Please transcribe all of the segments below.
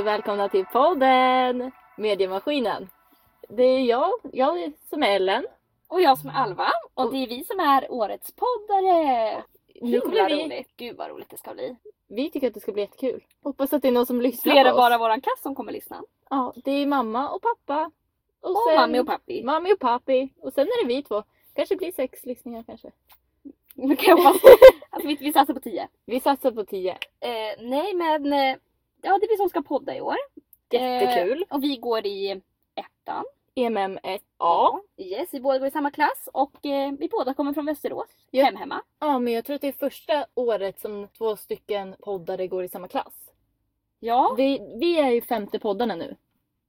och välkomna till podden Mediemaskinen. Det är jag, jag som är Ellen. Och jag som är Alva och det är vi som är årets poddare! Nu kommer vi, roligt! Gud vad roligt det ska bli! vi tycker att det ska bli jättekul. Hoppas att det är någon som lyssnar Fler på än oss. bara våran kass som kommer lyssna. Ja, det är mamma och pappa. Och, sen- mammi och pappi. Mamma och pappi. Och sen är det vi två. Kanske blir sex lyssningar kanske. Nu kan jag hoppas. Alltså vi, vi satsar på tio. Vi satsar på tio. Eh, nej men, eh, ja det är vi som ska podda i år. Jättekul. E Eh, och vi går i ettan. EMM1A. Yes, vi båda går i samma klass och eh, vi båda kommer från Västerås. Ja. Hem hemma. Ja, men jag tror att det är första året som två stycken poddare går i samma klass. Ja. Vi, vi är ju femte poddarna nu.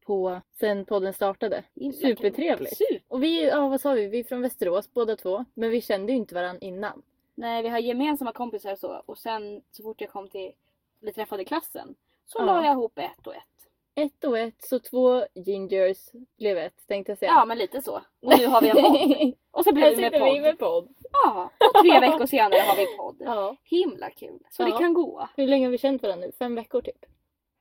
På, sen podden startade. Supertrevligt. Super. Och vi, ja vad sa vi, vi är från Västerås båda två. Men vi kände ju inte varandra innan. Nej, vi har gemensamma kompisar och så. Och sen så fort jag kom till, vi träffade klassen, så Ja. la jag ihop ett och ett. Ett och ett, så två gingers blev ett tänkte jag säga. Ja, men lite så. Och nu har vi en podd. Och så Här blir vi med sitter vi podd. med podd. Ja, och tre veckor senare har vi podd. Ja. Himla kul. Så Ja. det kan gå. Hur länge har vi känt varandra nu? Fem veckor typ?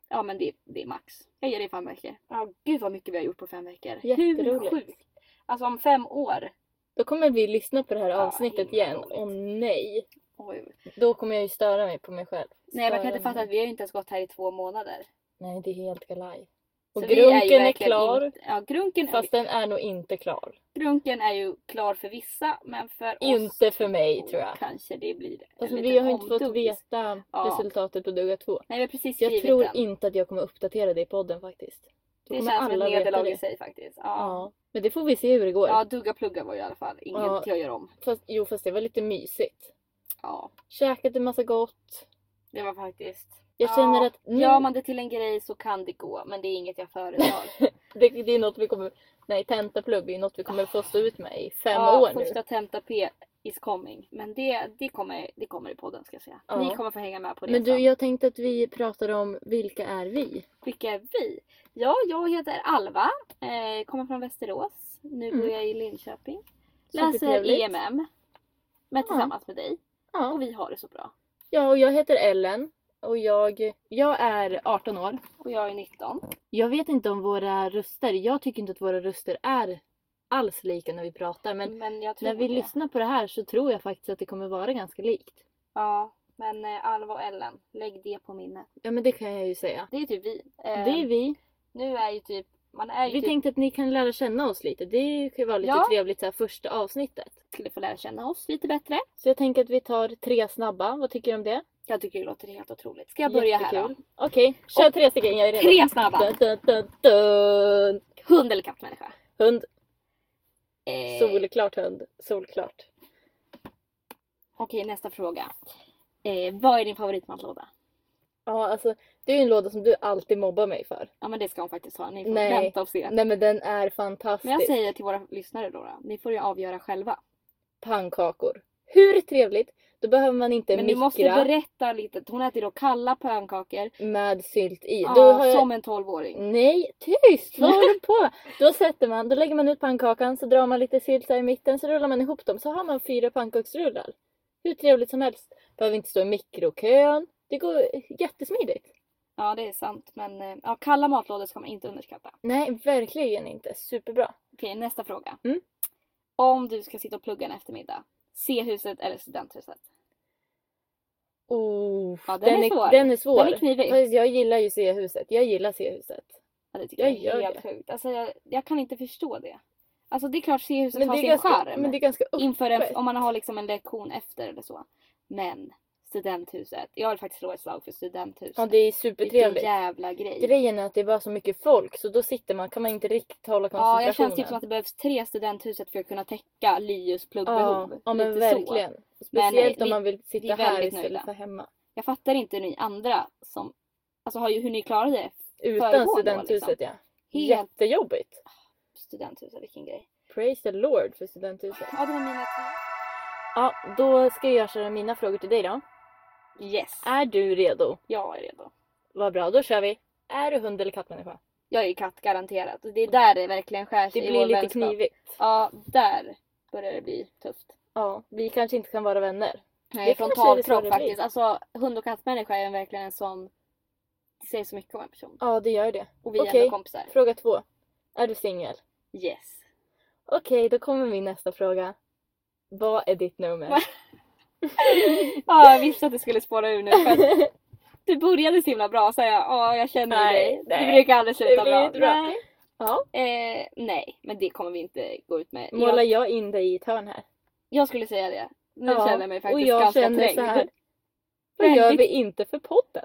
Ja, men det, det är max. Jag ger dig fem veckor. Ja, gud vad mycket vi har gjort på fem veckor. Jätteroligt. Hur sjukt? Alltså om fem år. Då kommer vi lyssna på det här Ja, avsnittet himla igen. roligt. Åh nej! Oj. Då kommer jag ju störa mig på mig själv. Nej, jag kan Störa inte fatta mig. att vi har ju inte ens gått här i två månader. Nej, det är helt galaj. Och Så vi ju grunken är, verkligen klar. inte- ja, grunken är, Fast den är nog inte klar. grunken är ju klar för vissa, men för oss Inte för mig två tror jag. kanske det blir en Alltså, vi liten har ju inte fått omtugg. veta Ja. resultatet på Dugga 2. Nej, vi har precis Så skrivit jag tror den. inte att jag kommer uppdatera det i podden faktiskt. Då Det kommer känns som ett alla veta nederlag det. i sig faktiskt. Ja. Ja. Men det får vi se hur det går. Ja, dugga plugga var ju i alla fall inget Ja. jag gör om. Fast, jo fast det var lite mysigt. Ja, Käkat en massa gott. det var faktiskt. Jag Ja. känner att mm. nu, Gör man det till en grej så kan det gå, men det är inget jag föredrar. det, det är något vi kommer... Nej, tentaplugg är något vi kommer få stå ut med i fem ja, år nu. första tenta P is coming. Men det, det, kommer, det kommer i podden ska jag säga. Ja. Ni kommer få hänga med på resan. Men du, jag tänkte att vi pratar om vilka är vi? Vilka är vi? Ja, jag heter Alva. Eh, kommer från Västerås. Nu Mm. bor jag i Linköping. Läser Supertrevligt. EMM. Men tillsammans med dig. Och Ja. vi har det så bra. ja, och jag heter Ellen och jag, jag är 18 år. Och jag är 19. Jag vet inte om våra röster, jag tycker inte att våra röster är alls lika när vi pratar men Men, jag tror när vi det. lyssnar på det här så tror jag faktiskt att det kommer vara ganska likt. Ja, men eh, Alva och Ellen, lägg det på minnet. Ja men det kan jag ju säga. Det är typ vi. Eh, Det är vi. Nu är ju typ, man är ju Vi typ, tänkte att ni kan lära känna oss lite. Det kan ju vara lite Ja. trevligt så här första avsnittet. skulle få lära känna oss lite bättre. Så jag tänker att vi tar tre snabba. Vad tycker du om det? Jag tycker det låter helt otroligt. Ska jag börja här då? Jättekul. Okej, kör Och- tre stycken. Jag är redo. Tre snabba! Dun, dun, dun, dun. Hund eller kattmänniska? Hund. Eh, Solklart hund. Solklart. Okej, nästa fråga. Eh, vad är din favoritmatlåda? Ja alltså det är ju en låda som du alltid mobbar mig för. Ja men det ska hon faktiskt ha. Ni får Nej. vänta och se. Nej men den är fantastisk. Men jag säger till våra lyssnare då, då ni får ju avgöra själva. Pannkakor. Hur trevligt! Då behöver man inte Men ni mikra måste berätta lite. Hon äter då kalla pannkakor. med sylt i. Ja, då har jag... Som en tolvåring. Nej, tyst! Vad håller du på med? Då sätter man, då lägger man ut pannkakan, så drar man lite sylt där i mitten, så rullar man ihop dem, så har man fyra pannkaksrullar. Hur trevligt som helst. Behöver inte stå i mikrokön. Det går jättesmidigt. Ja det är sant men eh, ja, kalla matlådor ska man inte underskatta. Nej, verkligen inte. Superbra. Okej nästa fråga. Mm. Om du ska sitta och plugga en eftermiddag. C-huset eller studenthuset? Oh, Ja, den är svår. Den är svår. Den är knivig. Fast jag gillar ju C-huset. Jag gillar C-huset. Ja, det tycker Jag jag, gör är helt sjukt. Alltså, jag, jag kan inte förstå det. Alltså det är klart C-huset Men har det, är sin ganska, charm. men det är ganska upp. inför en, öppet. om man har liksom en lektion efter eller så. Men studenthuset. Jag vill faktiskt slå ett slag för studenthuset. Ja, det är Vilken supertrevligt. jävla grej. Grejen är att det är bara så mycket folk så då sitter man, kan man inte riktigt hålla Ja, koncentrationen. jag känns typ som att det behövs tre studenthuset för att kunna täcka Lius pluggbehov. Ja, ja men Lite verkligen. Men, Speciellt eh, om vi- man vill sitta vi är här väldigt istället nöjda. för hemma. Så. Jag fattar inte ni andra som, alltså har ju, hur ni klarade det. Utan Föregående år, liksom. studenthuset ja. Helt Jättejobbigt. studenthuset, vilken grej. Praise the Lord för studenthuset. Ja, det var mina tre. Ja, då ska jag köra mina frågor till dig då. Yes, Är du redo? jag är redo. Vad bra, då kör vi. Är du hund eller kattmänniska? Jag är ju katt garanterat. Och Det är där det verkligen skär Det sig Alltså, i blir vår lite vänskap. knivigt. Ja, där börjar det bli tufft. Ja, vi kanske inte kan vara vänner. Nej, Det det kanske är det så det frontalkrock blir. faktiskt. Alltså hund och kattmänniska är verkligen en sån Det säger så mycket om en person. Ja, det gör det. Och vi är Okej. ändå kompisar. Fråga två. Är du singel? Yes. Okej, då kommer min nästa fråga. Vad är ditt nummer? Ja, jag visste att det skulle spåra ur nu. För att du började så himla bra så jag, ja jag känner Nej, dig. nej. Det brukar aldrig sluta blir bra. inte bra. Nej. Ja. Eh, nej, men det kommer vi inte gå ut med. Målar Jag, jag in dig i ett hörn här? jag skulle säga det. Nu Ja, känner jag mig Och faktiskt jag ganska känner trängd. så här. Vad gör vi inte för podden? Jag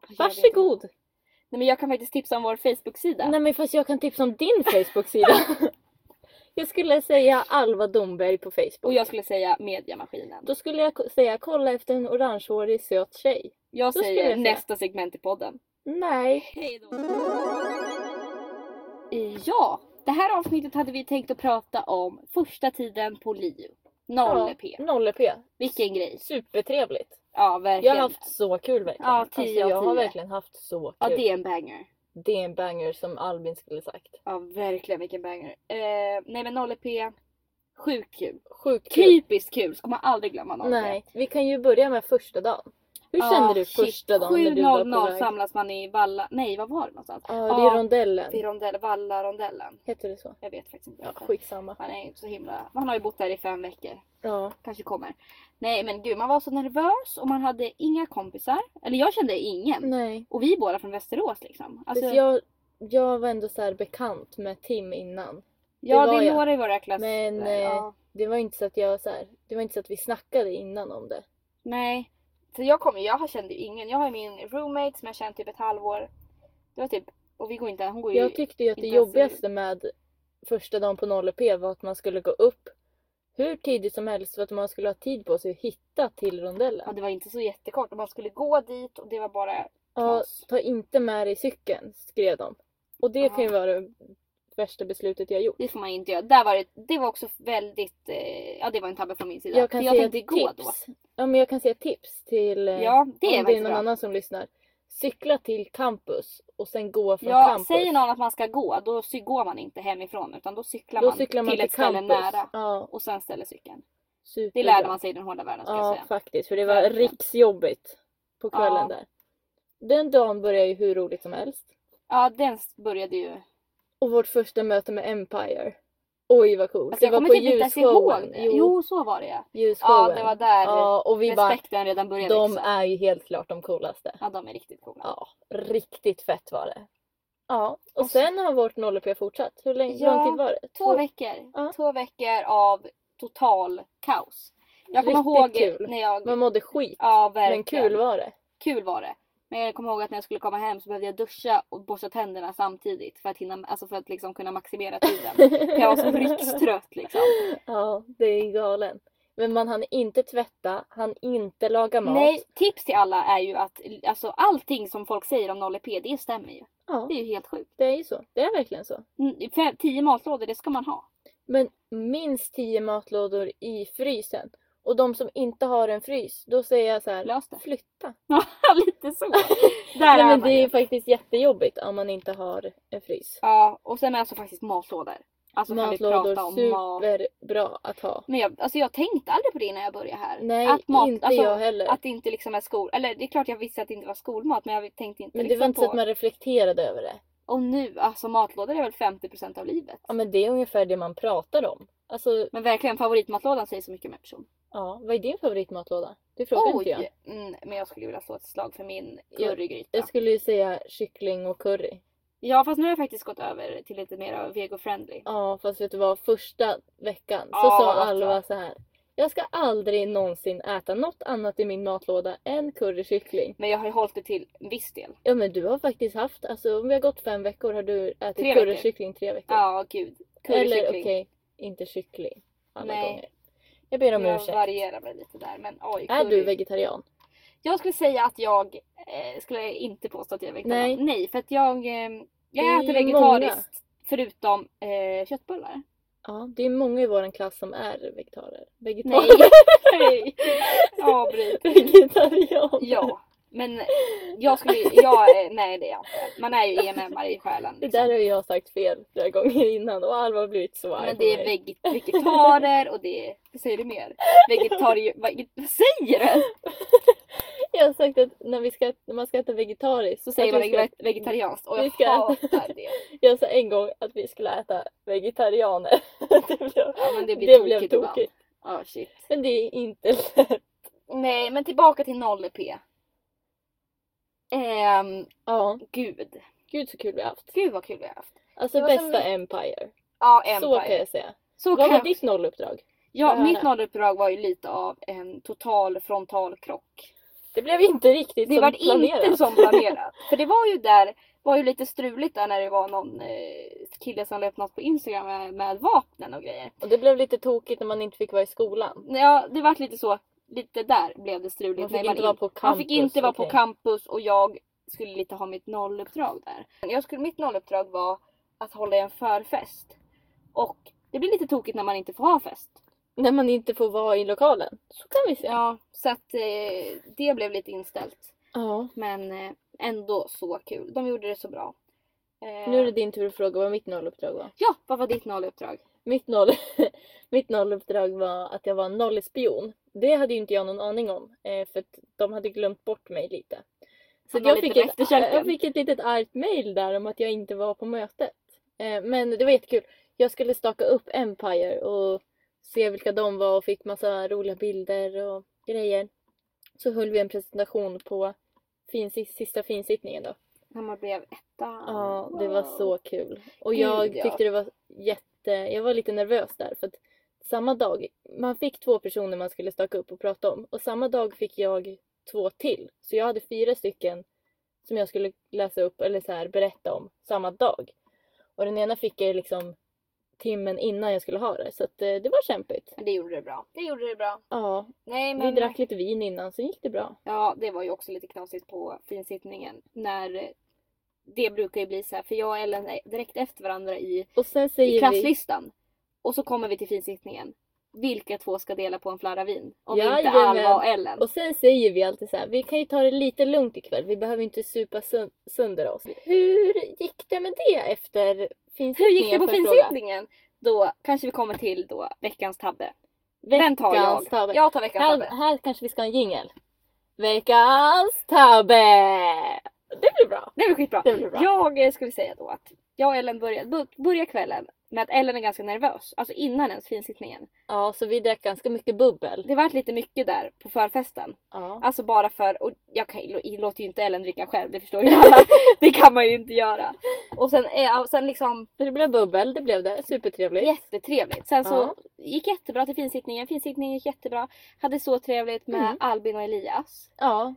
vet inte. Varsågod! Nej, men jag kan faktiskt tipsa om vår Facebook-sida. Nej men fast jag kan tipsa om din Facebook-sida. jag skulle säga Alva Domberg på Facebook. Och jag skulle säga mediamaskinen. Då skulle jag ko- säga kolla efter en orangehårig söt tjej. Jag då skulle säger jag säga- nästa segment i podden. Nej. Hej då! Eh, Ja, det här avsnittet hade vi tänkt att prata om första tiden på LiU. 0 P. Ja, 0p. Vilken grej. Supertrevligt. Ja, Jag verkligen. har haft så kul verkligen. Ja, tio alltså, av jag har tio. verkligen haft så kul. Ja, det... det är en banger. är en banger som Albin skulle sagt. Ja, verkligen vilken banger. Eh, nej men 0 P. Sjukt kul. Sjukt kul. Typiskt kul. Ska man aldrig glömma 0 Nej, vi kan ju börja med första dagen. Hur kände du första dagen när du var på 7.00 väg? samlas man i Valla. Nej, var var det någonstans? Ja, det är Ja. rondellen. Vid rondell, Valla-rondellen. Heter det så? Jag vet faktiskt inte. Ja, vad det skitsamma. Man är ju inte så himla... Man har ju bott där i fem veckor. Ja. Kanske kommer. Nej men gud, man var så nervös och man hade inga kompisar. Eller jag kände ingen. Nej. Och vi är båda från Västerås liksom. Alltså, Fast jag, jag var ändå så här bekant med Tim innan. ja, det det var är jag. några i våra klass. Men, eh, där, ja. Det var inte så att jag så här, det var inte så att vi snackade innan om det. Nej. Så jag kom, jag har- kände ju ingen. Jag har ju min roommate som jag känt typ ett halvår. Det var typ, och vi går inte, hon går ju... Jag tyckte ju att det inte ens- jobbigaste med första dagen på 0P var att man skulle gå upp hur tidigt som helst för att man skulle ha tid på sig att hitta till ja, rondellen. det var inte så jättekort. Och man skulle gå dit och det var bara Ja, knas. ta inte med dig cykeln, skrev de. Och det kan ju vara det värsta beslutet jag gjort. Det får man inte göra. Där var det, det var också väldigt, eh, ja det var en tabbe från min sida. Jag För kan jag säga tänkte gå då. tips. Ja, men jag kan säga tips till eh, Ja, det är om det är faktiskt någon bra. annan som lyssnar. Cykla till campus och sen gå från Ja, campus. säger någon att man ska gå, då cy- går man inte hemifrån utan då cyklar Då man, cyklar man till till, ett ställe campus. nära Ja, och sen ställer cykeln. superbra. Det lärde man sig i den hårda världen ska jag Ja, säga. faktiskt. För det var Verkligen. riksjobbigt på kvällen Ja. där. Den dagen började ju hur roligt som helst. Ja, den s- började ju. Och vårt första möte med Empire. Oj vad coolt. Alltså, det var kommer på typ inte ens ljusshowen. ihåg det. Jo, Jo. så var det ja. ljusshowen. Ja, det var där Ja, och vi bara, respekten redan började. de liksom. är ju helt klart de coolaste. Ja, de är riktigt coola. Ja, riktigt fett var det. Ja, och, Och så- sen har vårt 0P fortsatt. Hur länge, Ja, lång tid var det? Två veckor. Ja. Två veckor av total kaos. Jag kommer Riktigt ihåg kul. när jag... Man mådde skit. Ja, verkligen. men kul var det. Kul var det. Men jag kommer ihåg att när jag skulle komma hem så behövde jag duscha och borsta tänderna samtidigt för att, hinna, alltså för att liksom kunna maximera tiden. För jag var så rikstrött liksom. Ja, det är galen. Men man hann inte tvätta, hann inte laga mat. Nej, tips till alla är ju att alltså, allting som folk säger om 0P, det stämmer ju. Ja, Det är ju helt sjukt. det är ju så. Det är verkligen så. Mm, Fem, tio matlådor, det ska man ha. Men minst 10 matlådor i frysen. Och de som inte har en frys, då säger jag så här, Lös det. flytta. Lite så. Där Nej, är men man det är ju. ju faktiskt jättejobbigt om man inte har en frys. Ja, och sen alltså faktiskt matlådor. Alltså kan vi prata Matlådor, om mat. superbra att ha. Men jag, alltså jag tänkte aldrig på det när jag började här. Nej, att mat, inte alltså, jag heller. Att det inte liksom är skol... Eller det är klart jag visste att det inte var skolmat men jag tänkte inte men det liksom var inte på... så att man reflekterade över det. Och nu, alltså matlådor är väl 50% av livet. Ja, men det är ungefär det man pratar om. Alltså, Men verkligen, favoritmatlådan säger så mycket om en person. ja, vad är din favoritmatlåda? Det frågar inte jag. Mm, men jag skulle vilja slå ett slag för min Ja. currygryta. Jag skulle ju säga kyckling och curry. Ja fast nu har jag faktiskt gått över till lite mer av vego-friendly. Ja fast vet du vad, första veckan så Ja, alltså. sa vad gott, Alva va? så här. Jag ska aldrig någonsin äta något annat i min matlåda än currykyckling. Men jag har ju hållit det till en viss del. Ja men du har faktiskt haft, alltså om vi har gått fem veckor har du ätit Tre currykyckling tre veckor. Ja gud. Eller Currykyckling. okej, inte kyckling alla Nej. gånger. Jag ber om Jag ursäkt. varierar mig lite där men oj. Är curry. du vegetarian? Jag skulle säga att jag eh, skulle inte påstå att jag är vegetarian. Nej. Nej. för att jag, eh, Det är jag äter ju vegetariskt många. förutom eh, köttbullar. Ja, det är många i vår klass som är vegetarer. Nej. Vegetarer. Avbryt. Vegetarian. ja. Men jag skulle jag, är- nej det är jag inte. Man är ju EMM i själen. Det liksom. där har ju jag sagt fel flera gånger innan och Alva har blivit så arg Men på det är mig. veg- vegetarer och det är, vad säger du mer? Vegetarier, vad, vad säger du? Jag har sagt att när, vi ska, när man ska äta vegetariskt Så säger att man vi ska, veget- vegetarianskt och vi jag ska äta- hatar det. Jag sa en gång att vi skulle äta vegetarianer. det blev, Ja, men det det blir blev tokigt tokigt. ibland. Ja shit. Men det är inte lätt. Nej men tillbaka till 0P. Ehm, Ja, gud. gud så kul vi har haft. Gud vad kul vi har haft. Alltså Det var som bästa Empire. Ja, Så kan Empire. jag säga. Så Vad var kan ditt eh, nolluppdrag? Ja, Vad mitt är det? nolluppdrag var ju lite av en total frontalkrock. Det blev inte riktigt Det som var planerat. inte som planerat. För det var ju där, var ju lite struligt där när det var någon eh, kille som la upp något på Instagram med, med vapnen och grejer. Och det blev lite tokigt när man inte fick vara i skolan. Ja, det vart lite så, lite där blev det struligt. Man när fick inte vara på campus. man fick inte vara på okej. campus och jag skulle lite ha mitt nolluppdrag där. Jag skulle, mitt nolluppdrag var att hålla en förfest. Och det blir lite tokigt när man inte får ha fest. När man inte får vara i lokalen. Så kan vi säga. Ja, så att eh, det blev lite inställt. Ja. Men eh, ändå så kul. De gjorde det så bra. Eh, Nu är det din tur att fråga vad mitt nolluppdrag var. Ja, vad var ditt nolluppdrag? Mitt, noll... mitt nolluppdrag var att jag var nollspion. Det hade ju inte jag någon aning om. eh, För att de hade glömt bort mig lite. Så Han att var jag, lite fick på ett, efterkälken. jag fick ett litet argt mail där om att jag inte var på mötet. Eh, Men det var jättekul. Jag skulle staka upp Empire och se vilka de var och fick massa roliga bilder och grejer. Så höll vi en presentation på fin, sista finsittningen då. När man blev etta. Ja, det var Wow. så kul. Och Gud, jag ja. tyckte det var jätte... Jag var lite nervös där för att samma dag, man fick två personer man skulle staka upp och prata om och samma dag fick jag två till. Så jag hade fyra stycken som jag skulle läsa upp eller så här, berätta om samma dag. Och den ena fick jag liksom timmen innan jag skulle ha det så att, eh, det var kämpigt. Men det gjorde det bra. Det gjorde det bra. Ja, Nej vi men. drack lite vin innan så gick det bra. Ja, det var ju också lite knasigt på finsittningen. När det brukar ju bli så här, för jag och Ellen är direkt efter varandra i, Och sen i säger vi... klasslistan. Och så kommer vi till finsittningen. Vilka två ska dela på en flarra vin? Om inte Jajamän. Alva och Ellen. Och sen säger vi alltid så här, vi kan ju ta det lite lugnt ikväll, vi behöver inte supa sö- sönder oss. Hur gick det med det efter finsittningen? Hur gick det på får jag fråga? finsittningen? Då kanske vi kommer till då veckans tabbe. Den Veckans tar jag. tabbe. Jag tar veckans Här, tabbe. här kanske vi ska ha en jingel. Veckans tabbe! Det blir bra. Det blir skitbra. Det blir bra. Jag eh, skulle säga då att jag och Ellen börjar, bör- börjar kvällen med att Ellen är ganska nervös. Alltså innan ens finsittningen. Ja, så vi drack ganska mycket bubbel. Det vart lite mycket där på förfesten. Ja. Alltså bara för, och jag, kan, jag låter ju inte Ellen dricka själv, det förstår ju alla. det kan man ju inte göra. Och sen, eh, och sen liksom Så det blev bubbel, det blev det. Supertrevligt. jättetrevligt. Sen så Ja. gick jättebra till finsittningen, finsittningen gick jättebra. Hade så trevligt med Mm. Albin och Elias. Ja.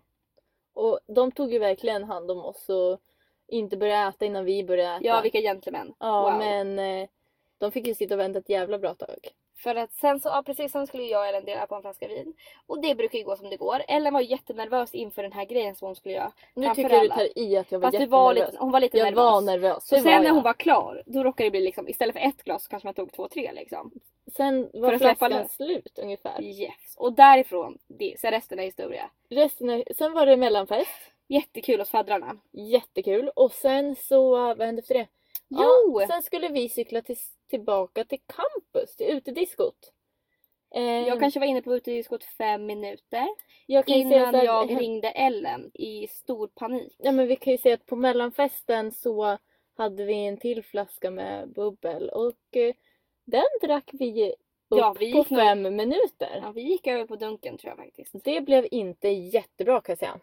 Och de tog ju verkligen hand om oss och inte började äta innan vi började äta. Ja, vilka gentlemän. Ja, Wow. men eh, de fick ju sitta och vänta ett jävla bra tag. För att sen så, ja precis, sen skulle jag och Ellen dela på en flaska vin. Och det brukar ju gå som det går. Ellen var jättenervös inför den här grejen som hon skulle göra. Nu Framför tycker jag du alla. tar i att jag var Fast det jättenervös. var lite, hon var lite jag nervös. var nervös. Så det sen var när jag. hon var klar, då råkade det bli liksom, istället för ett glas så kanske man tog två, tre liksom. Sen För var att släppa flaskan lös. slut ungefär. Yes. Och därifrån, det, så resten är historia. Resten är... Sen var det mellanfest. Jättekul hos faddrarna. Jättekul. Och sen så, vad hände efter det? Jo! Ja, sen skulle vi cykla till, tillbaka till campus, till utediskot. Eh, Jag kanske var inne på utediskot fem minuter jag kan ju säga innan så här- jag ringde Ellen i stor panik. Ja men vi kan ju säga att på mellanfesten så hade vi en till flaska med bubbel och eh, den drack vi upp Ja, vi på gick nog- fem minuter. Ja, vi gick över på dunken tror jag faktiskt. Det blev inte jättebra kan jag säga.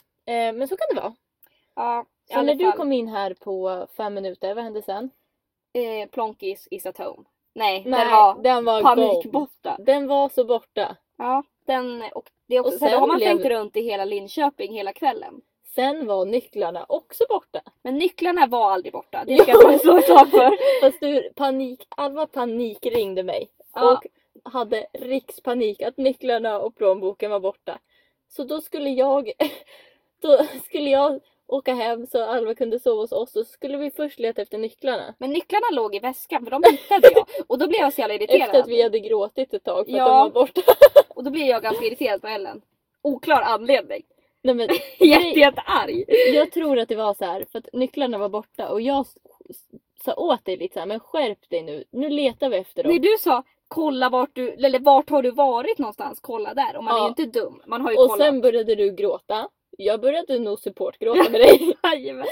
Eh, men så kan det vara. Ja, i Så alla när du fall. kom in här på fem minuter, vad hände sen? eh, Plonkis is at home. Nej, Nej, den var den var gone. panikborta. Den var så borta. Ja, den och det är också, Och sen, då sen har man blev- tänkt runt i hela Linköping hela kvällen. Sen var nycklarna också borta. Men nycklarna var aldrig borta. Det ska jag bara slå ett slag för. Fast du, panik, Alva panik ringde mig Ja. och hade rikspanik att nycklarna och plånboken var borta. Så då skulle jag, då skulle jag åka hem så Alva kunde sova hos oss och så skulle vi först leta efter nycklarna. Men nycklarna låg i väskan för de hittade jag. Och då blev jag så jävla irriterad. Efter att vi hade gråtit ett tag för Ja. att de var borta. Och då blev jag ganska irriterad på Ellen. Oklar anledning. Nej, men, Jätte, jättearg. jag tror att det var så här för att nycklarna var borta och jag s- s- sa åt dig lite så här, men skärp dig nu. Nu letar vi efter dem. När du sa kolla vart du, eller vart har du varit någonstans, kolla där. Och man är Ja. ju inte dum. Man har ju Och kollat. sen började du gråta. Jag började nog supportgråta med dig. Jajamän.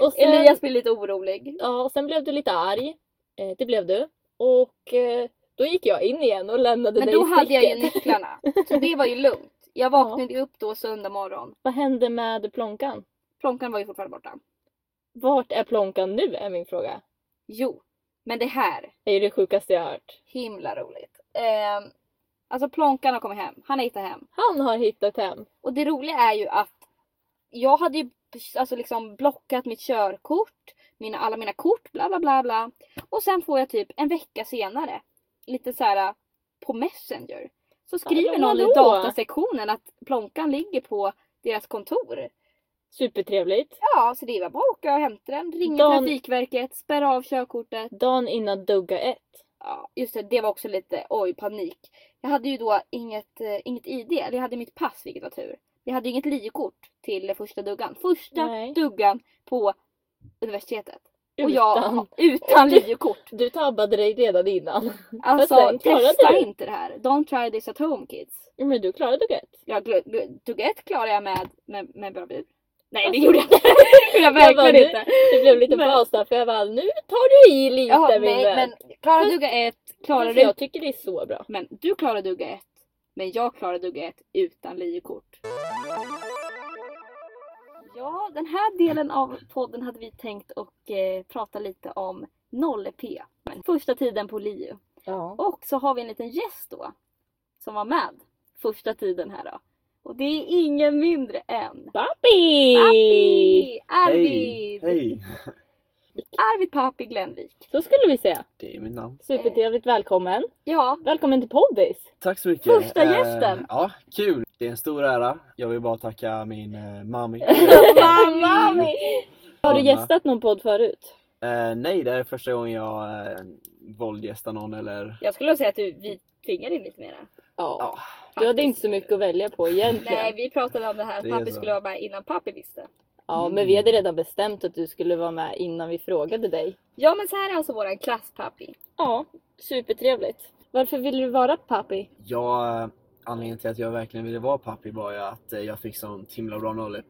Och sen, Elias blir lite orolig. ja, och sen blev du lite arg. Eh, det blev du. Och eh, då gick jag in igen och lämnade Men dig då i hade jag ju sticket. nycklarna. Så det var ju lugnt. Jag vaknade ju upp då söndag morgon. Vad hände med plånkan? Plånkan var ju fortfarande borta. Vart är plånkan nu är min fråga. Jo, men det här. Det är det sjukaste jag har hört. Himla roligt. Ehm, alltså Plånkan har kommit hem. Han har hittat hem. Han har hittat hem. Och det roliga är ju att jag hade ju alltså liksom blockat mitt körkort, mina, alla mina kort, bla bla bla bla. Och sen får jag typ en vecka senare, lite så här äh, på Messenger, så skriver Hallå, någon i hallå. datasektionen att Plånkan ligger på deras kontor. Supertrevligt. Ja, så det var bara att åka och hämta den, ringa Dan- Trafikverket, spärra av körkortet. Dagen innan dugga ett. Ja, just det, det var också lite oj, panik. Jag hade ju då inget, eh, inget ID, eller jag hade mitt pass vilket var tur. Jag hade ju inget liokort till första duggan. Första Nej. duggan på universitetet. Och Utan. jag utan liokort. Du tabbade dig redan innan. Alltså sen klarade testa du. inte det här. Don't try this at home kids. Men du klarade dugga ett. Jag, gl- gl- dugga ett klarade jag med, med, med bravur. Nej det Alltså, gjorde jag inte. Det gjorde jag Jag bara, verkligen nu- inte. Det blev lite Men- paus där för jag bara, nu tar du i lite Ja, min nej, vän. men klara dugga ett, klara Alltså, du jag tycker det är så bra. Men du klarar dugga ett. Men jag klarar dugga ett utan liokort. Ja, den här delen av podden hade vi tänkt att eh, prata lite om 0P. Men första tiden på LiU. Ja. Och så har vi en liten gäst då. Som var med första tiden här då. Och det är ingen mindre än Pappi! Pappi! Hej! Arvid! Hej! Arvid Pappi Glenvik. Så skulle vi säga. Det är mitt namn. Supertrevligt välkommen. Ja, Välkommen till poddis. Tack så mycket. Eh, Första gästen. Ja, kul. Det är en stor ära. Jag vill bara tacka min eh, mami. Mami! Har du Mamma. gästat någon podd förut? eh, nej, det är första gången jag eh, våldgästar någon eller... jag skulle säga att du, vi tvingade in lite mera. Ja, Du hade inte så mycket att välja på egentligen. Nej, vi pratade om det här att Det är pappi så. skulle vara med innan pappi visste. Ja, men Mm. vi hade redan bestämt att du skulle vara med innan vi frågade dig. Ja men så här är alltså våran klasspappi. Ja, supertrevligt. Varför vill du vara pappi? jag, eh, anledningen till att jag verkligen ville vara pappi var ju att eh, jag fick sån himla bra 0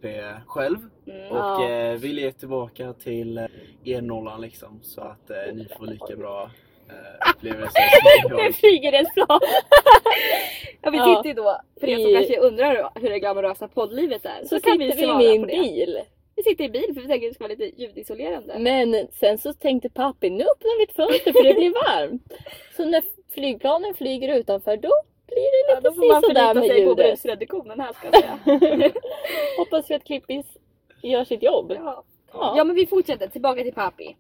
själv. Mm. Och Ja. eh, vill ge tillbaka till eh, er nollan liksom. Så att eh, ni får lika bra eh, upplevelser som jag. Nu flyger det ett plan. ja vi Ja. sitter ju då, för er som I- kanske undrar hur det glamorösa poddlivet är. Så, Så, sitter kan vi, vi svara i min på det. bil. Vi sitter i bil för vi tänker att det ska vara lite ljudisolerande. Men sen så tänkte pappi, nu öppnar vi ett fönster för det blir varmt. Så när flygplanen flyger utanför då blir det Ja, lite då får man sådär förlita med sig på ljudet. brusreduktionen här ska jag säga. Hoppas vi att Klippis gör sitt jobb. ja. Ja. ja men vi fortsätter, tillbaka till pappi.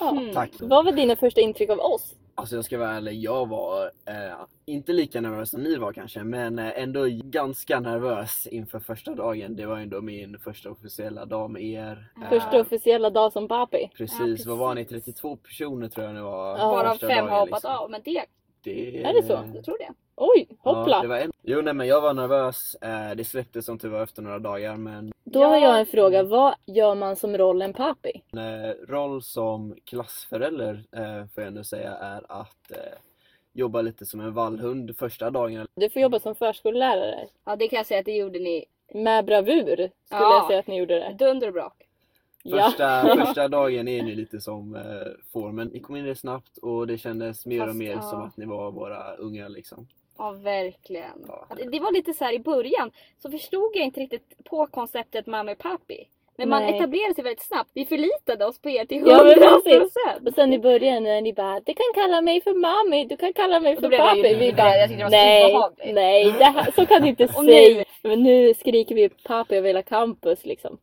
Ja. Mm. Tack. Vad var dina första intryck av oss? Alltså jag ska vara ärlig, jag var eh, inte lika nervös som ni var kanske, men eh, ändå ganska nervös inför första dagen. Det var ändå min första officiella dag med er. Eh, Första officiella dag som pappi. precis, Mm. Ja, precis. vad var ni? 32 personer tror jag ni var. Ja. Varav första fem dagen, har hoppat liksom. Mm. av men det, Det... eh, Är det så? jag tror det. Oj, hoppla! Ja, det var en... Jo nej men jag var nervös, eh, det släppte som tur var efter några dagar men Då Ja. har jag en fråga. Vad gör man som rollen pappi? eh, roll som klassförälder eh, får jag ändå säga är att eh, jobba lite som en vallhund första dagen. Du får jobba som förskollärare. Ja det kan jag säga att det gjorde ni Med bravur skulle Ja. jag säga att ni gjorde det. dunder och brak. Ja. Första, första dagen är ni lite som eh, formen. Ni kom in rätt snabbt och det kändes mer Fast, och mer ja. som att ni var våra unga liksom. Ja verkligen. Ja. Att Det var lite så här i början så förstod jag inte riktigt på konceptet mamma och pappi. Men man Nej. etablerade sig väldigt snabbt. Vi förlitade oss på er till 100%. Ja, men precis. procent. Och sen i början när ni bara, du kan kalla mig för mami, du kan kalla mig Och då för blev jag ju pappi. Vi livrädd. bara, Jag tyckte det var så nej, obehagligt." nej, det här, så kan du inte Och nu- säga. Men nu skriker vi pappi över hela campus liksom.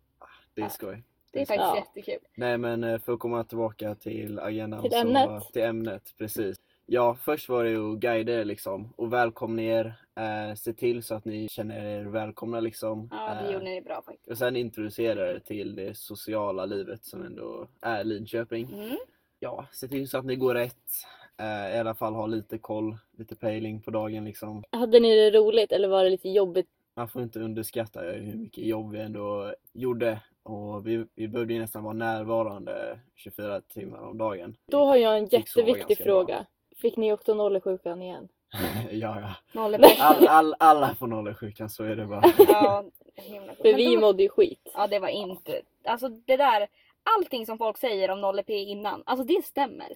Det är Ja. skoj. Det är skoj. faktiskt Ja. jättekul. Nej men eh, för att komma tillbaka till agendan. Till så- ämnet. Till ämnet, precis. Ja, först var det ju att guida er liksom och välkomna er. Eh, se till så att ni känner er välkomna liksom. Ja det Eh, gjorde ni bra faktiskt. och sen introducera er till det sociala livet som ändå är Linköping. Mm. ja, se till så att ni går rätt. Eh, I alla fall ha lite koll, lite pejling på dagen liksom. Hade ni det roligt eller var det lite jobbigt man får inte underskatta hur mycket jobb vi ändå gjorde och vi, vi behövde ju nästan vara närvarande 24 timmar om dagen. Då har jag en Fick sova jätteviktig ganska bra. fråga. Fick ni också nollsjukan igen? ja, ja. Noll All, all, alla får nollersjukan, så är det bara. Ja, himla För Men vi då- mådde ju skit. Ja det var inte, alltså det där, allting som folk säger om 0 p innan, alltså det stämmer.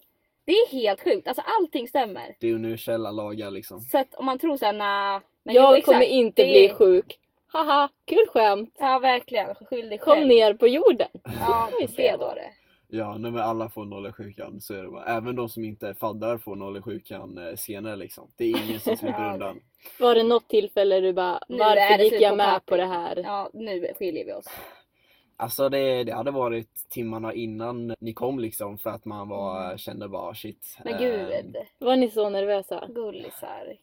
Det är helt sjukt, alltså allting stämmer. Det är universella lagar liksom. Så att om man tror såhär nä, men jo, Jag exakt. kommer inte Det bli är- sjuk. Haha, kul skämt. Ja verkligen, skyll dig Kom själv. ner på jorden. Ja, Vi det ser var då. det. Ja, nej, men alla får nollersjukan, så är det bara. Även de som inte är faddrar får nollersjukan eh, senare liksom. Det är ingen som Ja, slipper det- undan. Var det något tillfälle du bara, Nu är varför det gick slut på jag med party." på det här? Ja, nu skiljer vi oss. Alltså det, det hade varit timmarna innan ni kom liksom för att man var, Mm. kände bara shit. Men eh, gud, Var ni så nervösa? gullisar.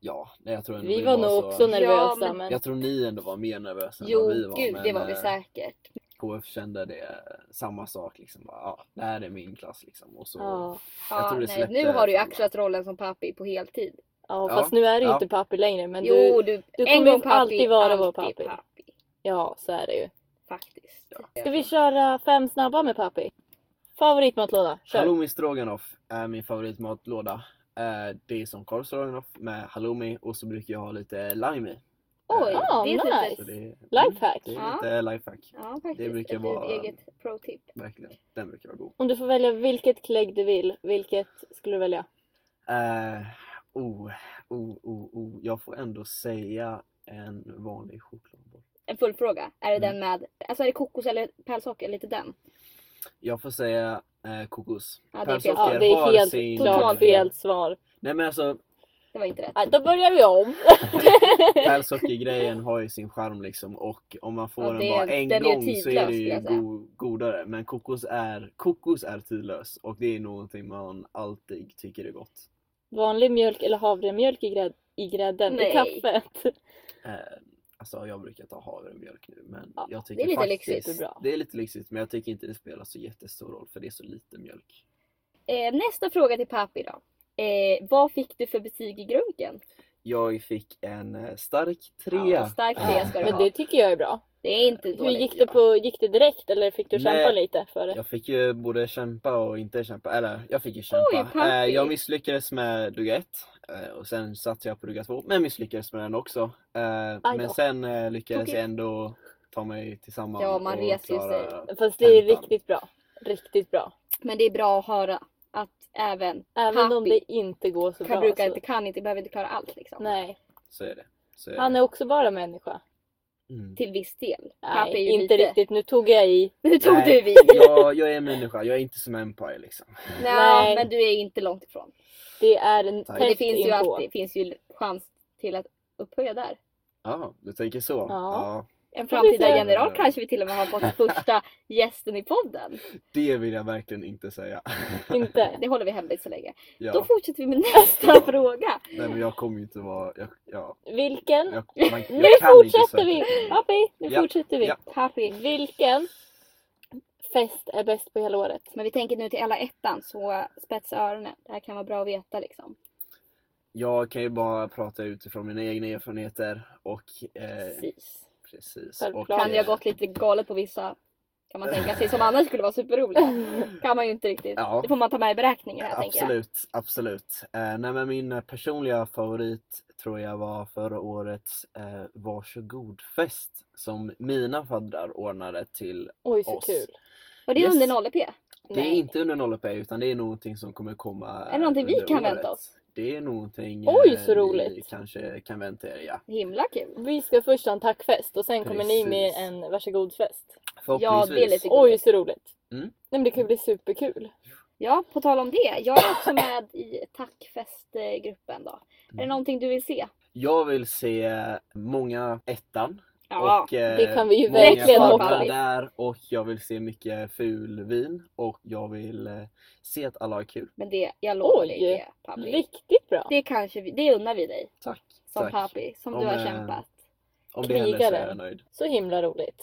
ja, nej, jag tror ändå Vi var nog så- också nervösa Ja, men- men Jag tror ni ändå var mer nervösa än Jo, vad vi var. gud men, det var vi eh, säkert. KF kände det eh, samma sak liksom. Bara, ja, det här är min klass liksom. Och så, ja. jag Ja, tror det nej, släppte nu har du ju för alla. axlat rollen som pappi på heltid. Ja, Ja, fast nu är du ju ja. inte pappi längre men jo, du, du, du en kommer gång ju pappi, alltid vara vår alltid pappi. Ja, så är det ju. Faktiskt. Ska vi köra fem snabba med pappi? Favoritmatlåda, kör! Halloumi stroganoff är min favoritmatlåda. Eh, Det är som korv stroganoff med halloumi och så brukar jag ha lite lime i. Eh, Oj, Ah, det är ett nice. Så litet- det, mm, Lifehack! det Ja. är lite lifehack. Ja, faktiskt. Det brukar ett vara- eget pro-tip. Verkligen. Den brukar vara god. Om du får välja vilket klägg du vill, vilket skulle du välja? Eh, oh, oh, oh, oh. Jag får ändå säga en vanlig chokladboll. En full fråga. Är det den Mm. med, alltså är det kokos eller pärlsocker? Lite den. Jag får säga eh, kokos. Ja, det är fel. Ja, Pärlsocker det är har helt sin- klart Totalt fel svar. Nej men alltså Det var inte rätt. Nej, då börjar vi om! pärlsockergrejen har ju sin charm liksom och om man får Ja, den det- bara en den är gång så tidlös, är det skulle ju jag säga. go- godare. Men kokos är, kokos är tidlös och det är någonting man alltid tycker är gott. Vanlig mjölk eller havremjölk i, grädd, i grädden, i Nej. kaffet. Eh, alltså jag brukar ta havremjölk nu men Ja, jag tycker det är lite faktiskt, lyxigt. Bra. Det är lite lyxigt men jag tycker inte det spelar så jättestor roll för det är så lite mjölk. Eh, nästa fråga till pappi då. Eh, vad fick du för betyg i grunken? Jag fick en eh, stark trea. Ja, stark trea ska du Men ha. det tycker jag är bra. Det är inte Hur dåligt. gick det, på, gick det direkt eller fick du Nej. kämpa lite för det? Jag fick ju både kämpa och inte kämpa, eller jag fick ju kämpa. Oj, pappi. Eh, jag misslyckades med dugga ett eh, och sen satte jag på dugga två, men misslyckades med den också. Eh, då. Men sen eh, lyckades Tokigt. jag ändå ta mig tillsammans Ja, man och reser ju klara- Fast det är Femton. riktigt bra. Riktigt bra. Men det är bra att höra att även Även om Happy. det inte går så kan bra. brukar så- inte, kan inte, behöver inte klara allt liksom. Nej, Så är det. Så är han är också bara människa. det. Mm. Till viss del. Pappi är Nej, ju inte lite- riktigt. Nu tog jag i. Nu tog Nej, du vid. Jag, jag är en människa, jag är inte som Empire liksom. Nej, Nej. men du är inte långt ifrån. Det är en Tack. Men det test finns ju inpå. alltid finns ju chans till att upphöja där. Ja, du tänker så? Ja. En Får vi framtida se. general kanske vi till och med har fått första gästen i podden. Det vill jag verkligen inte säga. Inte. Det håller vi hemligt så länge. Ja, Då fortsätter vi med nästa fråga. nej, men jag kommer ju inte vara... Jag, ja, Vilken? jag, man, jag nu kan inte fortsätter söka. vi! Pappi, nu Ja, fortsätter vi. ja. Happy. Vilken fest är bäst på hela året? Men vi tänker nu till alla ettan så spetsa öronen. Det här kan vara bra att veta liksom. Jag kan ju bara prata utifrån mina egna erfarenheter och eh, Precis. Precis. Självklart. Och, Kan det eh, ha gått lite galet på vissa kan man tänka sig som annars skulle vara superroliga. Kan man ju inte riktigt. Ja. Det får man ta med i beräkningen här tänker jag. Absolut, absolut. Eh, nej, men min personliga favorit tror jag var förra årets eh, Varsågod-fest som mina faddrar ordnade till. Oj, så Oss. kul. Var det Yes. under 0 p? Det är Nej. inte under 0 utan det är någonting som kommer komma. Är det någonting vi under kan vänta året. Det är någonting Oj, så ni roligt. kanske kan vänta er ja. Himla kul. Vi ska först ha en tackfest och sen kommer ni med Precis. en varsågodfest. Förhoppningsvis. lite- Oj, så roligt. Mm. Nej, men det kan bli superkul. Ja, på tal om det. Jag är också med i tackfestgruppen då. Är det Mm. någonting du vill se? Jag vill se många ettan. Ja. och, eh, det kan vi ju många verkligen farbröder hoppas. där och jag vill se mycket fulvin och jag vill eh, se att alla har kul. Men det, jag lovar Oj. dig det Pappi. Riktigt bra. Det kanske vi, det unnar vi dig. Tack. Som tack. Pappi, som du Om, har eh, kämpat. Om det händer så är Krigaren. jag nöjd. Så himla roligt.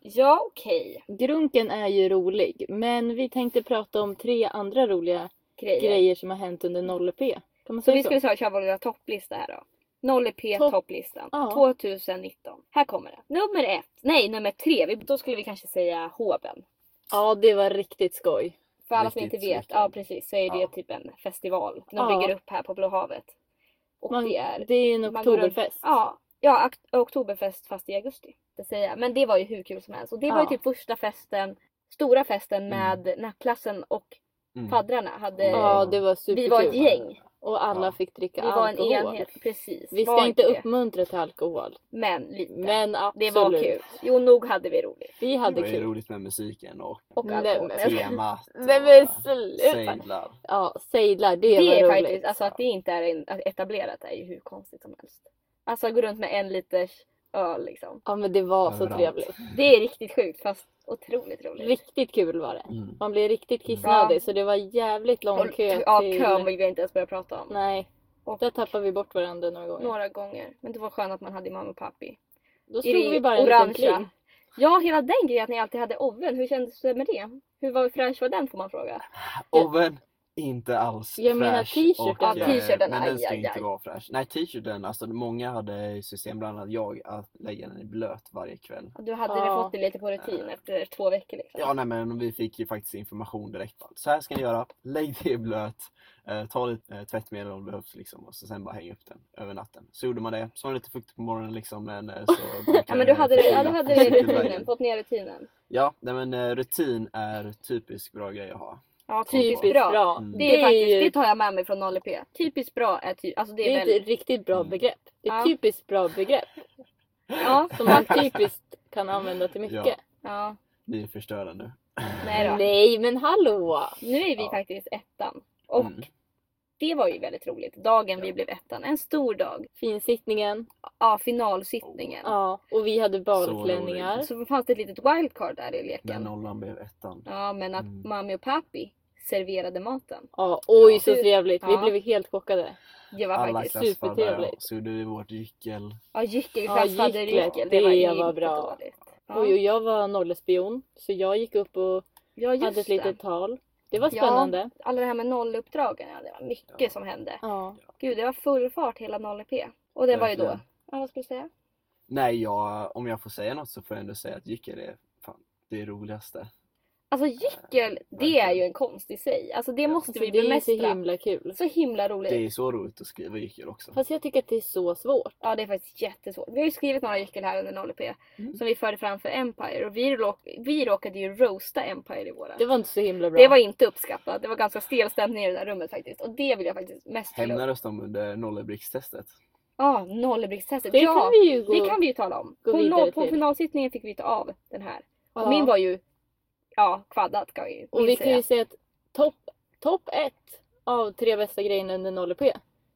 Ja, okej. Grunken är ju rolig, men vi tänkte prata om tre andra roliga Grejer. grejer som har hänt under 0P. Kan man Så säga vi så? skulle så här köra vår lilla topplista här då. Nolly P Topp- topplistan. Ja. 2019. Här kommer det. Nummer ett. Nej, nummer tre. Vi, då skulle vi kanske säga Hoben. Ja, det var riktigt skoj. För alla som inte Riktigt vet, smickrande. ja precis, så är det Ja. typ en festival de Ja. bygger upp här på Blå havet. Och Man, det är... det är en man går runt- oktoberfest. Ja, ja ak- Oktoberfest fast i augusti. Det säger jag. Men det var ju hur kul som helst. Och det var ju Ja. typ första festen, stora festen Mm. med nappklassen och Mm. faddrarna. Hade, Ja, det var superkul. vi var ett gäng. Och alla Ja. fick dricka Vi var en alkohol. enhet. Precis. Vi Var ska inte det. uppmuntra till alkohol. Men lite. Men det absolut. var kul. Jo, nog hade vi roligt. Vi Det hade var ju kul. roligt med musiken och Och Alltså, Nej, alkohol. men- temat. Nej men och sluta. Sejdlar. Ja, sejdlar. Det, Det är var roligt. faktiskt, alltså att det inte är en- etablerat är ju hur konstigt som helst. Alltså gå runt med en liters öl liksom. Ja men det var så Överallt. trevligt. Det är riktigt sjukt fast otroligt roligt. Riktigt kul var det. Mm. Man blev riktigt kissnödig Ja. så det var jävligt lång Och- kö Ja, till... kön vill jag inte ens börja prata om. Nej. Och- Där tappade vi bort varandra några gånger. Några gånger. Men det var skönt att man hade mamma och pappi. Då I slog vi det bara en liten kling. orangea. Ja, hela den grejen att ni alltid hade oven. Hur kändes det med det? Hur var fräsch var den får man fråga. Oven, inte alls Jag menar fräsch t-shirten. och, Ja, eh, t-shirten, Men aj, den ska aj, ju inte aj. vara fräsch. Nej, t-shirten, alltså många hade ju system, bland annat jag, att lägga den i blöt varje kväll. Du hade Ja. fått det lite på rutin efter två veckor liksom. Ja, nej men vi fick ju faktiskt information direkt. Så här ska ni göra, lägg det i blöt, eh, ta lite eh, tvättmedel om det behövs liksom och så sen bara häng upp den över natten. Så gjorde man det, så var det lite fuktigt på morgonen liksom men eh, så Ja men du hade, det- ja, du hade det i rutinen, rutinen. fått ner rutinen. Ja, nej men eh, rutin är typiskt bra grej att ha. Ja, Typiskt bra. bra. Mm. Det, är faktiskt, ju- det tar jag med mig från 0P. Typiskt bra är typ, alltså det det är är väldigt, ett riktigt bra Mm. begrepp. Det är Ja. ett typiskt bra begrepp ja, som man typiskt kan använda till mycket. Ja. ja, Ni är förstörda nu. nej då. Nej men hallå! Nu är vi Ja. faktiskt ettan. Och Mm. det var ju väldigt roligt. Dagen vi Ja. blev ettan, en stor dag. Finsittningen. Ja, finalsittningen. Ja. Och vi hade balklänningar. Så fanns det ett litet wildcard där i Den leken. nollan blev ettan. Ja, men att Mm. mami och pappi serverade maten. Ja, oj Ja. så trevligt. Vi Ja. blev helt chockade. Det var Alla faktiskt... klassfadrar supertrevligt. så gjorde vi vårt gyckel. Ja, gyckelklass Ja, hade gycklet, gyckel. det ju var inte bra. dåligt. Ja, Oj, och jag var nollespion. Så jag gick upp och ja just hade ett det. litet tal. Det var Ja. spännande. Alla det här med nolluppdragen, ja, det var mycket Ja. som hände. Ja. Gud, det var full fart hela 0P. Och det var ju då... Verkligen. Ja, vad ska du säga? Nej, jag, om jag får säga något så får jag ändå säga att gyckel är fan, det roligaste. Alltså gyckel, det är ju en konst i sig. Alltså det måste Alltså, vi det är så bemästra. himla kul. så himla roligt. Det är så roligt att skriva gyckel också. Fast jag tycker att det är så svårt. Ja, det är faktiskt jättesvårt. Vi har ju skrivit några gyckel här under 0P. Mm. Som vi förde fram för Empire. Och vi, råk- vi råkade ju roasta Empire i våra. Det var inte så himla bra. Det var inte uppskattat. Det var ganska stel stämning i det där rummet faktiskt. Och det vill jag faktiskt mest till upp. Hämnades de under nollebrickstestet? Ja, nollbrickstestet. det Ja, kan vi ju gå... det kan vi ju tala om. gå På, vidare no- på till. finalsittningen fick vi ta av den här. Ja. Och min var ju ja, kvaddad kan vi, Och vi minns kan ju säga att topp topp ett av tre bästa grejerna under 0P.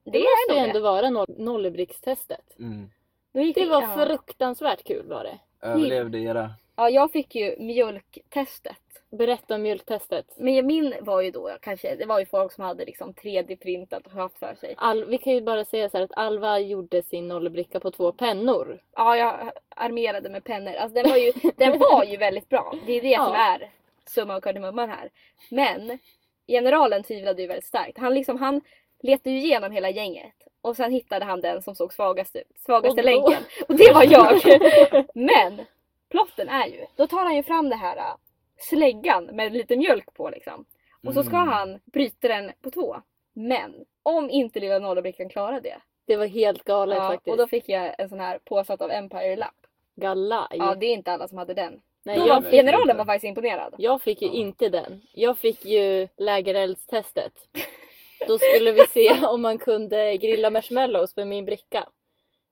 Det, Det måste är ju nog ändå det. vara noll- nollebrickstestet. Mm. Då gick Det vi- var ja. fruktansvärt kul var det. Överlevde era? Ja, jag fick ju mjölktestet. Berätta om mjölktestet. Men min var ju då kanske, det var ju folk som hade liksom 3D-printat och haft för sig. Al- vi kan ju bara säga så här att Alva gjorde sin nollebricka på två pennor. Ja, jag armerade med pennor. Alltså den var ju, den var ju väldigt bra. Det är det Ja. som är summa och kardemumman här. Men generalen tvivlade ju väldigt starkt. Han liksom, han letade ju igenom hela gänget. Och sen hittade han den som såg svagast ut, svagaste Och då- länken. Och det var jag. Men plotten är ju, då tar han ju fram det här äh, släggan med lite mjölk på liksom. Och så ska Mm. han bryta den på två. Men om inte lilla nollebrickan klarar det. Det var helt galet Ja, faktiskt. och då fick jag en sån här påsatt av Empire-lapp. Galaj. Ja, det är inte alla som hade den. Nej, Då det är jag, var, verkligen generalen inte. var faktiskt imponerad. jag fick ju Ja. inte den. Jag fick ju lägereldstestet. Då skulle vi se om man kunde grilla marshmallows med min bricka.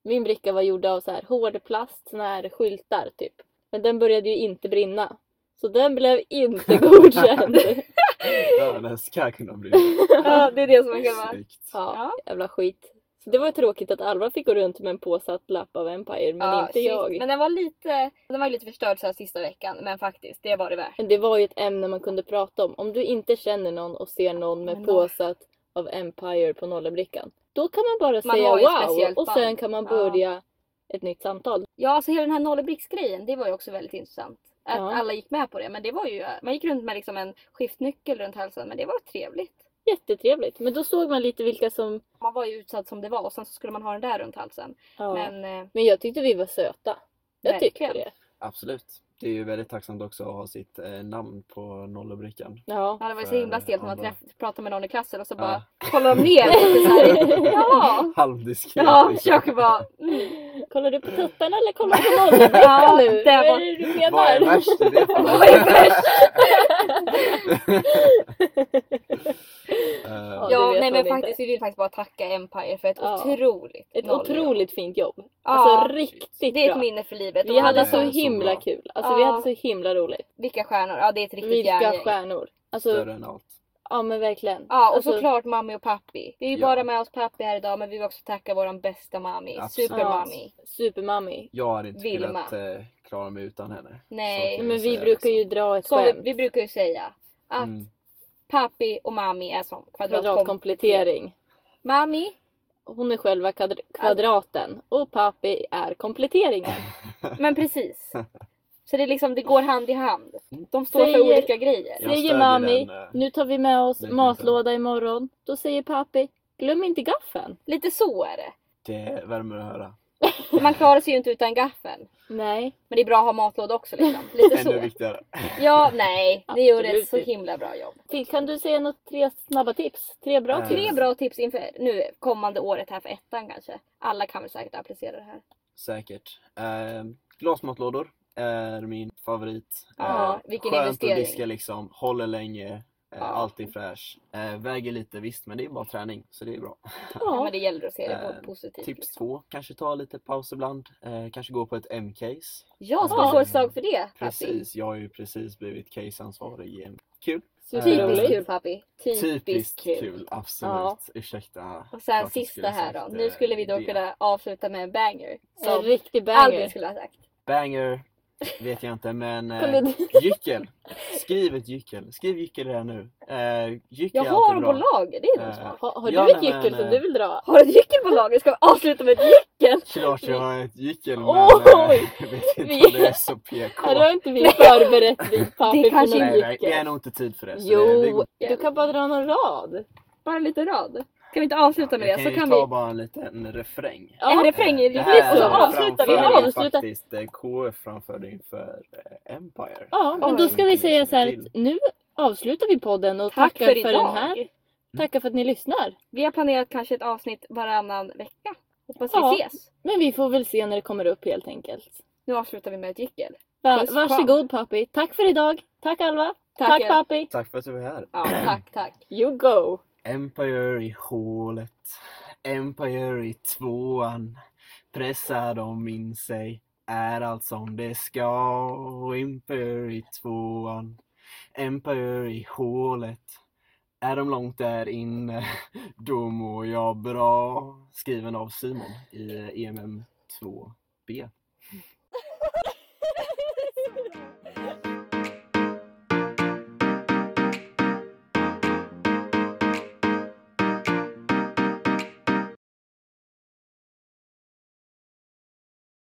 Min bricka var gjord av så här hård plast, såna här skyltar typ. Men den började ju inte brinna. Så den blev inte godkänd. Ja, den ska kunna bli Ja, det är det som är själva... snyggt. Ja, Ja. jävla skit. Så det var tråkigt att Alva fick gå runt med en påsatt lapp av Empire, men Ja, inte shit. jag. Men den var lite, den var ju lite förstörd så här sista veckan. Men faktiskt, det var det värt. Men det var ju ett ämne man kunde prata om. Om du inte känner någon och ser någon med Men då- påsatt av Empire på nollebrickan. Då kan man bara Man säga har ju ett wow speciellt och sen kan man Ja. börja ett nytt samtal. Ja, alltså hela den här nollebricksgrejen, det var ju också väldigt intressant. Att Ja. alla gick med på det. Men det var ju, man gick runt med liksom en skiftnyckel runt halsen. Men det var trevligt. Jättetrevligt. Men då såg man lite vilka som... Man var ju utsatt som det var och sen så skulle man ha den där runt halsen. Ja. Men, Men eh, jag tyckte vi var söta. Jag tyckte Verkligen. det. Absolut. Det är ju väldigt tacksamt också att ha sitt eh, namn på nollrubriken. Ja. ja, det var ju så himla stelt när man För alla. träff- pratade med någon i klassen och så Ja. bara kollar de ner lite såhär. Ja. Halvdiskret. Ja, liksom. försöker bara. Mm. Kollar du på tuttarna eller kollar du på nollrubriken Ja, nu? det var- Vad är det du Vad är menar? värst i det Vad är värst? Eh, Ja, det Ja, vet nej man men inte. faktiskt vill ju faktiskt bara tacka Empire för ett Ja. otroligt Ett noll. otroligt fint jobb. ja, Alltså riktigt Det är ett bra. minne för livet. Vi hade hade så så himla bra. kul. Alltså vi Ja. hade så himla roligt. Vilka stjärnor? Ja det är ett riktigt Vilka järngäng. stjärnor. Alltså, Större än allt. ja men verkligen. Ja och Alltså, såklart mammi och pappi. Vi är ju Ja. bara med oss pappi här idag men vi vill också tacka våran bästa mammi. Absolut. Supermammi. Supermami. Jag hade inte Vilma. kunnat eh, klara mig utan henne. Nej. Så Nej, kan men jag vi säga, brukar ju liksom. dra ett Som vi, skämt. vi brukar ju säga. Att Mm. pappi och mammi är som kvadratkom. Kvadratkomplettering. Mammi, Hon är själva kvadr- kvadraten och pappi är kompletteringen. men precis. Så det, är liksom, det går hand i hand. De står för Säger- olika grejer. Säger Jag stödjer mami, den, eh, nu tar vi med oss det kan matlåda imorgon. Då säger pappi, glöm inte gaffeln. Lite så är det. Det värmer att höra. Man klarar sig ju inte utan gaffeln. Nej, Men det är bra att ha matlåda också liksom. Lite Ännu så. viktigare. Ja, nej. Ni gjorde ett Absolut. så himla bra jobb. Fil, kan du säga något tre snabba tips? Tre bra Eh, tips? Tre bra tips inför nu kommande året här för ettan kanske. Alla kan väl säkert applicera det här. Säkert. Eh, glasmatlådor är min favorit. Ja, Eh, vilken skönt investering. att diska liksom. Håller länge. Eh, Alltid fräsch. Eh, väger lite visst men det är bara träning så det är bra. Ja. Ja. men det gäller att se det Eh, på positivt. Tips liksom. två. Kanske ta lite paus ibland. Eh, kanske gå på ett M-case. Ja, ska Ja. vi slå ett slag för det? Pappi? Precis, jag har ju precis blivit caseansvarig igen. Kul! Typiskt Roligt. kul pappi. Typiskt, Typiskt kul. kul, absolut. Ja. Ursäkta. Och klart sen jag sista skulle här då. sagt, Nu eh, skulle vi då det. kunna avsluta med en banger. En Som riktig Albin banger. skulle ha sagt. Banger vet jag inte men Kolla, eh, du- gyckel. Skriv ett gyckel. Skriv gyckel här nu. Eh, gyckel Jag är har alltid dem bra. på lager, det är nog Eh, smart. Har, har Ja, du ett nej, men, gyckel som eh, du vill dra? Har du ett gyckel på lager? Ska vi avsluta med ett gyckel? Klart jag har ett gyckel men Oj! eh, jag vet inte Vi- om det är så PK. Här har inte vi förberett vid pappi för kanske någon Nej, nej, det är gyckel. nog inte tid för det. så det, det Jo, går- du kan bara dra någon rad. Bara en liten rad. Kan vi inte avsluta med jag det? kan Så ju kan ta vi... bara en liten refräng. Ja. En refräng i Eh, det det här så är avslutar vi. framför dig Avsluta. faktiskt eh, KF framförde inför eh, Empire. Ja, men Oj. då ska vi säga så här Till. att nu avslutar vi podden och Tack tackar för för, idag. den här. Tackar för att ni lyssnar. Vi har planerat kanske ett avsnitt varannan vecka. Hoppas Ja. vi ses. Men vi får väl se när det kommer upp helt enkelt. Nu avslutar vi med ett gyckel. Va- Puss, kram. Varsågod pappi. Tack för idag. Tack Alva. Tack, Tack er. pappi. Tack för att du var här. Ja, tack, tack. Oh, You go. Empire i hålet, Empire i tvåan. Pressar de in sig, är allt som det ska. Empire i tvåan, Empire i hålet. Är de långt där inne, då mår E jag bra. Skriven av Simon i EMM 2B.